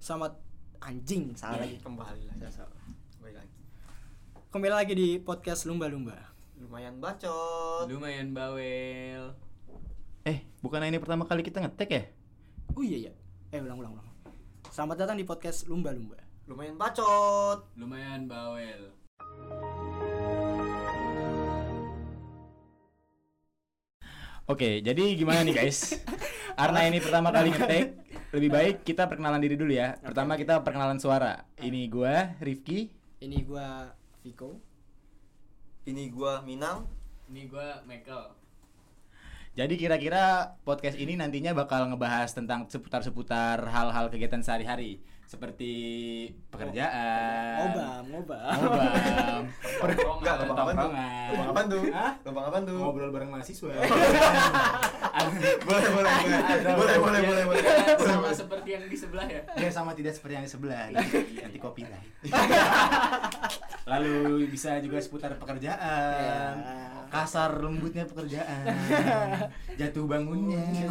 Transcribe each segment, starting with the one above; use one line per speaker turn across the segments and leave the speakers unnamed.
sama anjing
Iya.
salah lagi
kembali lagi
Salah, salah.
kembali lagi
kembali lagi di podcast lumba-lumba
lumayan bacot
Lumayan bawel.
Eh, bukannya ini pertama kali kita ngetek ya?
oh iya iya eh ulang ulang ulang selamat datang di podcast lumba-lumba
lumayan bacot
Lumayan bawel.
Oke, jadi gimana nih guys? Karena ini pertama kali ngetek, lebih baik kita perkenalan diri dulu ya. Pertama kita perkenalan suara. Ini gua Rifki.
ini gua Viko
ini gua Minang
Ini gua Michael.
Jadi kira-kira podcast ini nantinya bakal ngebahas tentang seputar-seputar hal-hal kegiatan sehari-hari seperti pekerjaan,
ngobam ngobam
ngobam,
Enggak,
Tongkrongan.
lubang apaan tuh?
Tongkrongan.
Lubang apaan tuh?
Hah?
Lubang apaan tuh?
ngobrol bareng mahasiswa.
Boleh, boleh, boleh. Boleh, boleh, boleh, boleh.
Iya, Sama seperti yang di sebelah ya.
Ya sama tidak seperti yang di sebelah nanti, nanti copyright. Lalu bisa juga seputar pekerjaan,
Ya.
kasar lembutnya pekerjaan, jatuh bangunnya.
Iya.
Iya,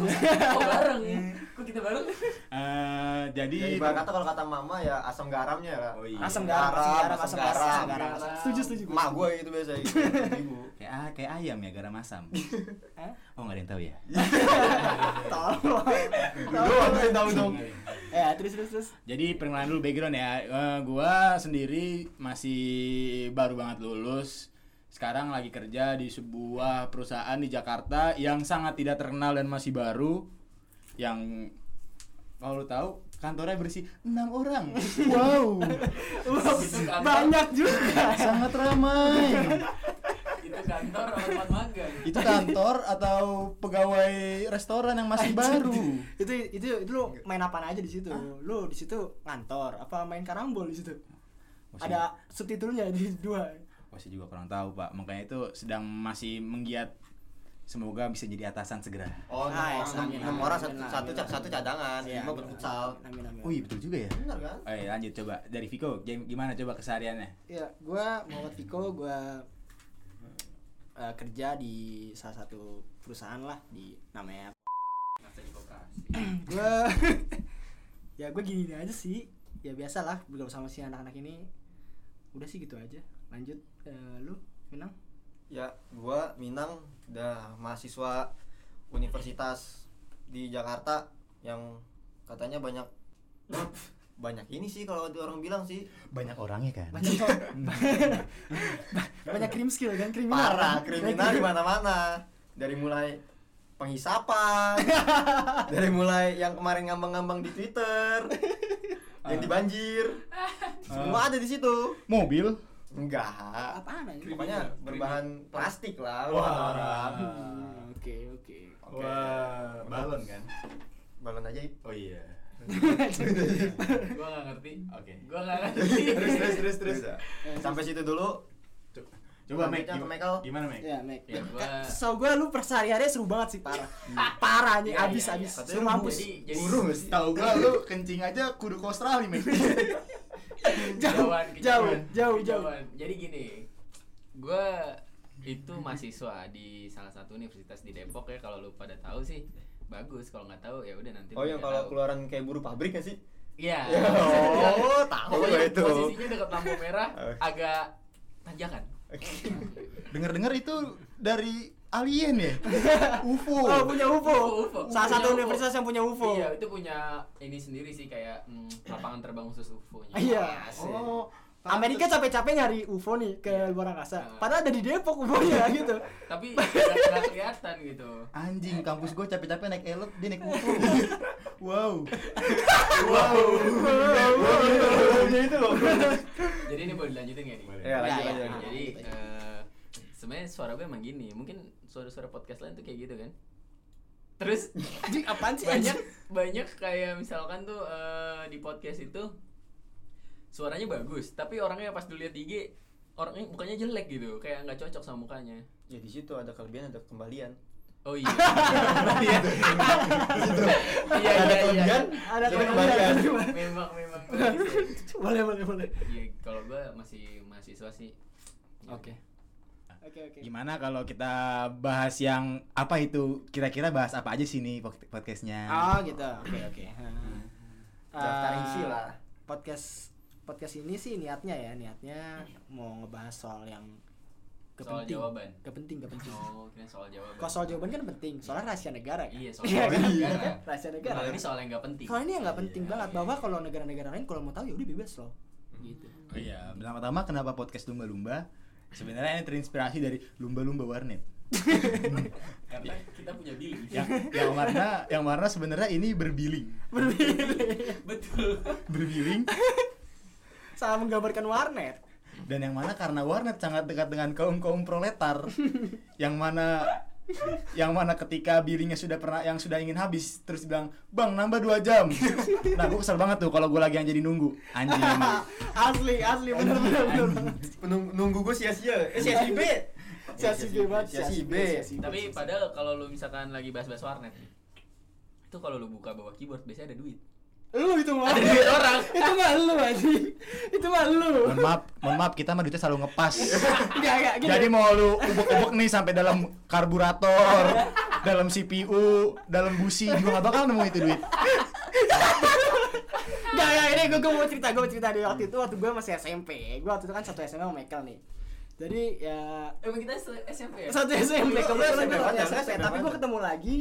Kok "Oh, bareng? ya? Kok kita bareng?
Eh,
Ya,
jadi
ibarat kata kalau kata mama ya asam garamnya ya.
Oh, iya.
asam garam asam garam asam garam asam garam,
garam.
asam- setuju setuju gua.
Mak gua gitu biasa gitu. Ibu.
kayak a- kayak ayam ya garam asam.
Hah?
Oh nggak ada yang tahu ya.
tolong
Lu waktu yang tahu dong.
ya terus terus terus
Jadi perkenalan dulu background ya. Eh, gua sendiri masih baru banget lulus. Sekarang lagi kerja di sebuah perusahaan di Jakarta yang sangat tidak terkenal dan masih baru. Yang kalau lu tahu kantornya berisi enam orang. Wow,
Itu kantor,
banyak juga
sangat ramai.
Itu kantor tempat magang.
Itu kantor atau pegawai restoran yang masih baru.
itu itu itu lu main apaan aja di situ lu di situ ngantor apa main karambol di situ
Masih-
ada subtitulnya di dua
Wah, saya juga kurang tahu pak. Makanya itu sedang masih menggiat. Semoga bisa jadi atasan segera.
Oh, enam
Ah, ya,
orang,
amin,
enam
amin,
orang
amin,
satu
amin,
satu
amin.
ca- satu cadangan,
Iya,
lima berfutsal.
amin amin
Oh iya betul juga ya.
Bener kan?
Oke lanjut coba dari Viko jam- gimana coba kesehariannya?
ya gua Muhammad Viko gua eh, kerja di salah satu perusahaan lah di namanya
Masa di koperasi.
gua ya gue gini aja sih ya biasalah belum sama si anak-anak ini udah sih gitu aja lanjut eh, lu Minang
Ya, gua Minang dah mahasiswa universitas di Jakarta yang katanya banyak banyak ini sih kalau orang bilang sih
Banyak orangnya kan.
banyak banyak krim skill kan kriminal
parah kriminal di mana-mana dari mulai penghisapan dari mulai yang kemarin ngambang-ngambang di Twitter yang dibanjir semua ada di situ
Mobil.
enggak
apaan aja
pokoknya berbahan plastik lah
Wah.
orang-orang.
Hmm, oke oke
Oke.
balon kan.
balon aja Ip.
Oh iya.
Gua gak ngerti.
Oke.
Gua gak ngerti.
Iya. terus
Udah. sampai situ dulu
Coba Mek
Lanjutnya ke
gim-
Michael.
Gimana Mek?
ya Mac
Ya, gua-
Ka- so gue lu per sehari hari seru banget sih parah parah nih
Iya,
abis
iya,
abis
iya.
seru
Katanya lu
mampus
Jadi jadi
burung ya? gak sih
Tahu ya? gua lu kencing aja kudu ke Australia Mek.
jauh
Kejauhan,
jauh
kejauhan.
jauh jauh
Kejauhan. Jadi gini, gue itu mahasiswa di salah satu universitas di Depok ya kalau lu pada tahu sih bagus kalau nggak tahu ya udah nanti
oh
lu
yang
aja
kalau
tahu.
keluaran kayak buru pabrik gak sih
Iya.
oh
ya.
tahu
Pokoknya
gua itu
Posisinya dekat lampu merah
Oh.
agak tanjakan.
Dengar-dengar itu dari alien ya? UFO.
oh punya UFO
UFO.
salah
Punya
satu
UFO.
universitas yang
Oh.
punya UFO
Iya, itu punya ini sendiri sih kayak mm, lapangan terbang khusus UFO-nya.
Ah,
Iya.
Asik.
Oh.
Amerika capek-capek nyari UFO nih ke luar angkasa.
Nah.
Padahal ada di Depok
Iya.
UFO-nya gitu.
Tapi nggak kelihatan gitu.
Anjing, kampus gue capek-capek naik elok, dia naik UFO. wow.
Iya.
Punya itu loh
Jadi ini boleh dilanjutin nggak nih?
Ya,
ya lanjut
ya.
lanjut
Nah,
lanjut.
jadi eh, sebenarnya suara gue emang gini mungkin suara-suara podcast lain tuh kayak gitu kan terus
Anjing apaan sih
banyak
anjing?
banyak kayak misalkan tuh eh, di podcast itu suaranya bagus tapi orangnya pas dulu lihat di IG orangnya mukanya jelek gitu kayak nggak cocok sama mukanya
ya di situ ada kelebihan ada kembalian
oh iya iya
ada
iya iya
kelebihan
Ada
jadi
kelebihan.
kembalian
memang memang bagus ya.
Boleh boleh boleh.
Iya, kalau gue masih mahasiswa sih Iya.
Oke. Oke oke.
Gimana kalau kita bahas yang apa itu?
gitu.
Kira-kira bahas apa aja sih nih pod- podcastnya?
Oh gitu. Oke oke. Ah.
Daftarin Diskusi lah.
podcast podcast ini sih niatnya ya niatnya mau ngebahas soal yang
Soal
kepenting
jawaban.
kepenting kepenting
Oh, kira soal jawaban.
kalau soal jawaban kan penting soalnya rahasia negara kan
Iya, soal
kan?
jawaban.
Iya kan? rahasia negara
Kalau ini soal yang nggak penting.
soal ini yang nggak penting
Iya,
banget
iya.
bahwa kalau negara-negara lain kalau mau tahu ya udah bebas loh gitu
Oh iya, pertama-tama kenapa podcast lumba-lumba? Sebenarnya ini terinspirasi dari lumba-lumba warnet.
Karena
Iya.
kita punya billing.
Yang yang warna yang warna sebenarnya ini berbiling.
Betul.
Berbiling
sama menggambarkan warnet
dan yang mana karena warnet sangat dekat dengan kaum-kaum proletar. Yang mana yang mana ketika bilingnya sudah pernah yang sudah ingin habis terus bilang bang nambah dua jam nah gue kesel banget tuh kalau gue lagi yang jadi nunggu anjing
asli asli bener bener bener banget.
Penung- nunggu gue sia-sia. Eh sia-sia B.
Iya,
Siasi B banget,
Sia-sia B.
siasi B.
Tapi padahal kalau lu misalkan lagi bahas-bahas warnet, itu kalau lu buka bawah keyboard biasanya ada duit.
lu itu mah
Ada duit orang.
itu mah lu aja itu mah lu
mohon maaf mohon maaf kita mah duitnya selalu ngepas
nggak nggak gini
Jadi mau lu ubek-ubek nih sampai dalam karburator, dalam CPU, dalam busi juga gak bakal nemu itu duit.
Gak, gak, ini gue, mau cerita, gue mau cerita di waktu itu waktu gue masih SMP Gue waktu itu kan satu SMP sama Michael nih Jadi ya
Emang kita se- SMP ya?
satu SMP,
Iya,
kebetulan
SMP
gue satu
banget,
SMP
SMP
Tapi gue
banget.
ketemu lagi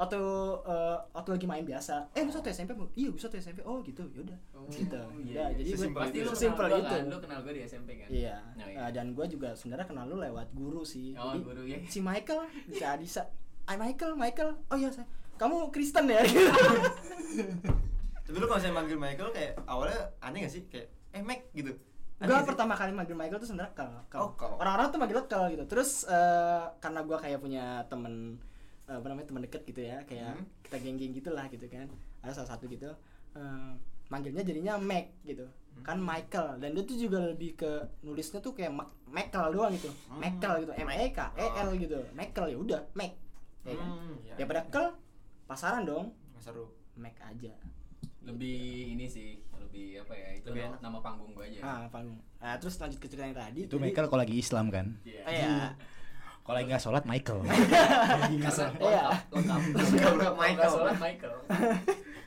waktu eh, waktu lagi main biasa eh lu satu SMP Bu? iya gue satu SMP oh gitu yaudah
Oh,
gitu ya
iya, iya.
jadi gue
Sesimpel
Pasti
itu.
lu
simpel
kenal
gitu
gitu. Kan? Lu kenal gue di SMP kan?
iya
Nah, iya.
Eh, dan gue juga sebenarnya kenal lu lewat guru sih
Oh,
Jadi,
guru, iya.
si Michael si Adisa ah Michael Michael oh iya saya kamu Kristen ya
Tapi lu kalau saya manggil Michael kayak awalnya aneh gak sih? Kayak eh Mac gitu.
Gue
Aneh nggak sih?
pertama kali manggil Michael tuh sebenernya kel, kel.
Oh, kel.
Orang-orang tuh manggil kel gitu Terus eh, karena gue kayak punya temen eh, Apa namanya temen deket gitu ya Kayak
Hmm.
kita geng-geng gitu lah gitu kan Ada salah satu gitu eh, Manggilnya jadinya Mac gitu
Hmm.
Kan Michael Dan dia tuh juga lebih ke Nulisnya tuh kayak Ma- Michael doang gitu
Hmm.
Michael gitu M-E-K-E-L
Oh.
gitu Michael ya udah Mac ya kan?
Hmm, iya,
Ya pada
iya.
kel Pasaran dong
Nggak seru.
Mac aja
Lebih ini sih, lebih apa ya? Itu
Lebih
nama,
enak.
nama panggung gue
Iya.
aja.
Ah panggung Nah, Terus lanjut ke cerita yang tadi Jadi-
Itu Michael kalau lagi Islam kan.
Iya.
Ah, iya.
Kalau lagi nggak sholat Michael.
Karena
Iya.
lengkap, lengkap.
Lengkap, lengkap,
Kalau nggak
Michael.
salah, Michael.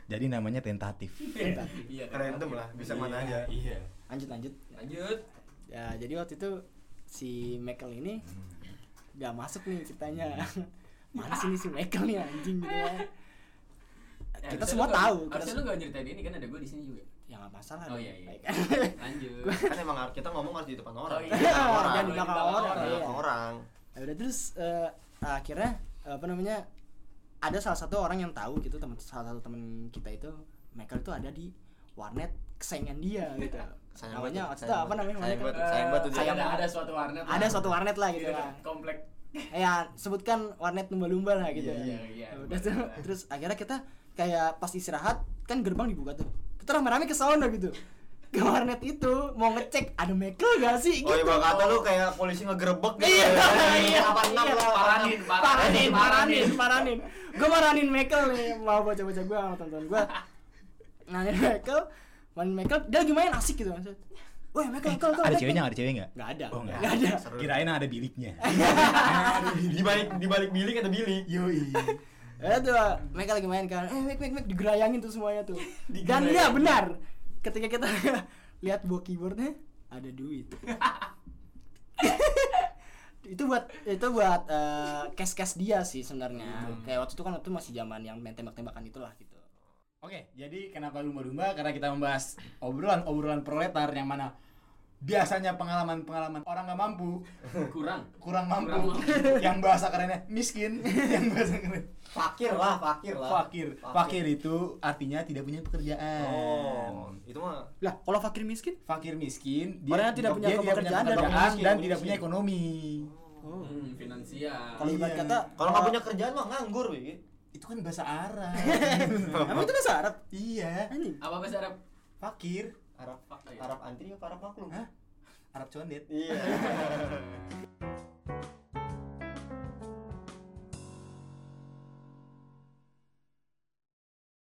Jadi namanya tentatif.
Iya. kan?
Random lah, bisa mana aja.
Iya.
Lanjut lanjut
Lanjut.
Ya, jadi waktu itu si Michael ini gak masuk nih ceritanya. Mana sih ini si Michael nih anjing gitu ya.
Eh,
Kita
harusnya
semua
lu nggak-
tahu, kita
Harusnya lu
semua-
nggak nyeritain ini kan ada gue di sini juga.
Ya gak masalah.
Oh
dong,
iya, iya.
baik kan?
Lanjut.
Kan emang harus- kita ngomong harus di depan orang.
Oh, iya.
Di depan
Jangan
orang.
di belakang
Orang.
orang.
Di
iya.
belakang orang.
Ya udah terus eh, akhirnya apa namanya? Ada salah satu orang yang tahu gitu teman salah satu teman kita itu Michael itu ada di warnet kesayangan dia gitu.
Sayang
namanya waktu
banget,
itu
sayang
apa namanya?
banget, sayang
Michael?
banget. sayang banget tuh
Eh,
dia.
ada, ada suatu warnet.
Ada suatu warnet lah gitu
Di dekat
lah.
Komplek.
ya sebutkan warnet lumba-lumba lah gitu
Iya,
kan.
iya, iya,
Udah tuh,
lumba-lumba.
terus akhirnya kita kayak pas istirahat kan gerbang dibuka tuh kita rame-rame ke sauna gitu ke warnet itu mau ngecek ada Michael gak sih
Oh iya
gitu
bang, kata lu kayak polisi ngegerebek gitu.
Iya, iya,
enam
iya.
lah,
Paranin,
paranin
paranin,
paranin paranin gue maranin Michael nih mau baca-baca gue sama teman-teman gue nah ini Michael main Michael dia lagi main asik gitu maksud Woi, Michael, Michael, Michael,
Ada
Michael."
ceweknya nggak? Ada cewek nggak?
Nggak ada.
Oh nggak.
Nggak ada.
Seru.
Kirain ada biliknya.
Di balik di balik bilik ada bilik.
Yoi.
Ya tuh, mereka lagi main kan. Eh, Mek, Mek, Mek digerayangin tuh semuanya tuh. Dan
Digerayangin.
ya benar. Ketika kita lihat buah keyboardnya ada duit. itu buat itu buat cash cash dia sih sebenarnya. Kayak waktu itu kan waktu masih zaman yang main tembak-tembakan itulah gitu.
Oke, jadi kenapa lumba-lumba? Karena kita membahas obrolan-obrolan proletar yang mana biasanya pengalaman-pengalaman orang nggak mampu,
Kurang.
kurang mampu,
Kurang mampu.
yang bahasa kerennya miskin, yang bahasa keren
Fakir lah, fakir lah.
Fakir. Fakir itu artinya tidak punya pekerjaan.
Oh, itu mah
Lah, kalau fakir miskin?
Fakir miskin,
Orangnya tidak punya pekerjaan dan tidak
dan,
miskin,
dan
miskin.
tidak punya ekonomi.
Oh.
Hmm, finansial.
Kalau ibarat
Iya.
kata
kalau nggak punya kerjaan mah nganggur, wi.
Itu kan bahasa Arab.
Emang itu bahasa Arab?
iya.
Anjing.
Apa bahasa Arab?
Fakir,
Arab
Fakta ya?
Arab antri apa Arab maklum?
Hah? Arab condet.
Iya.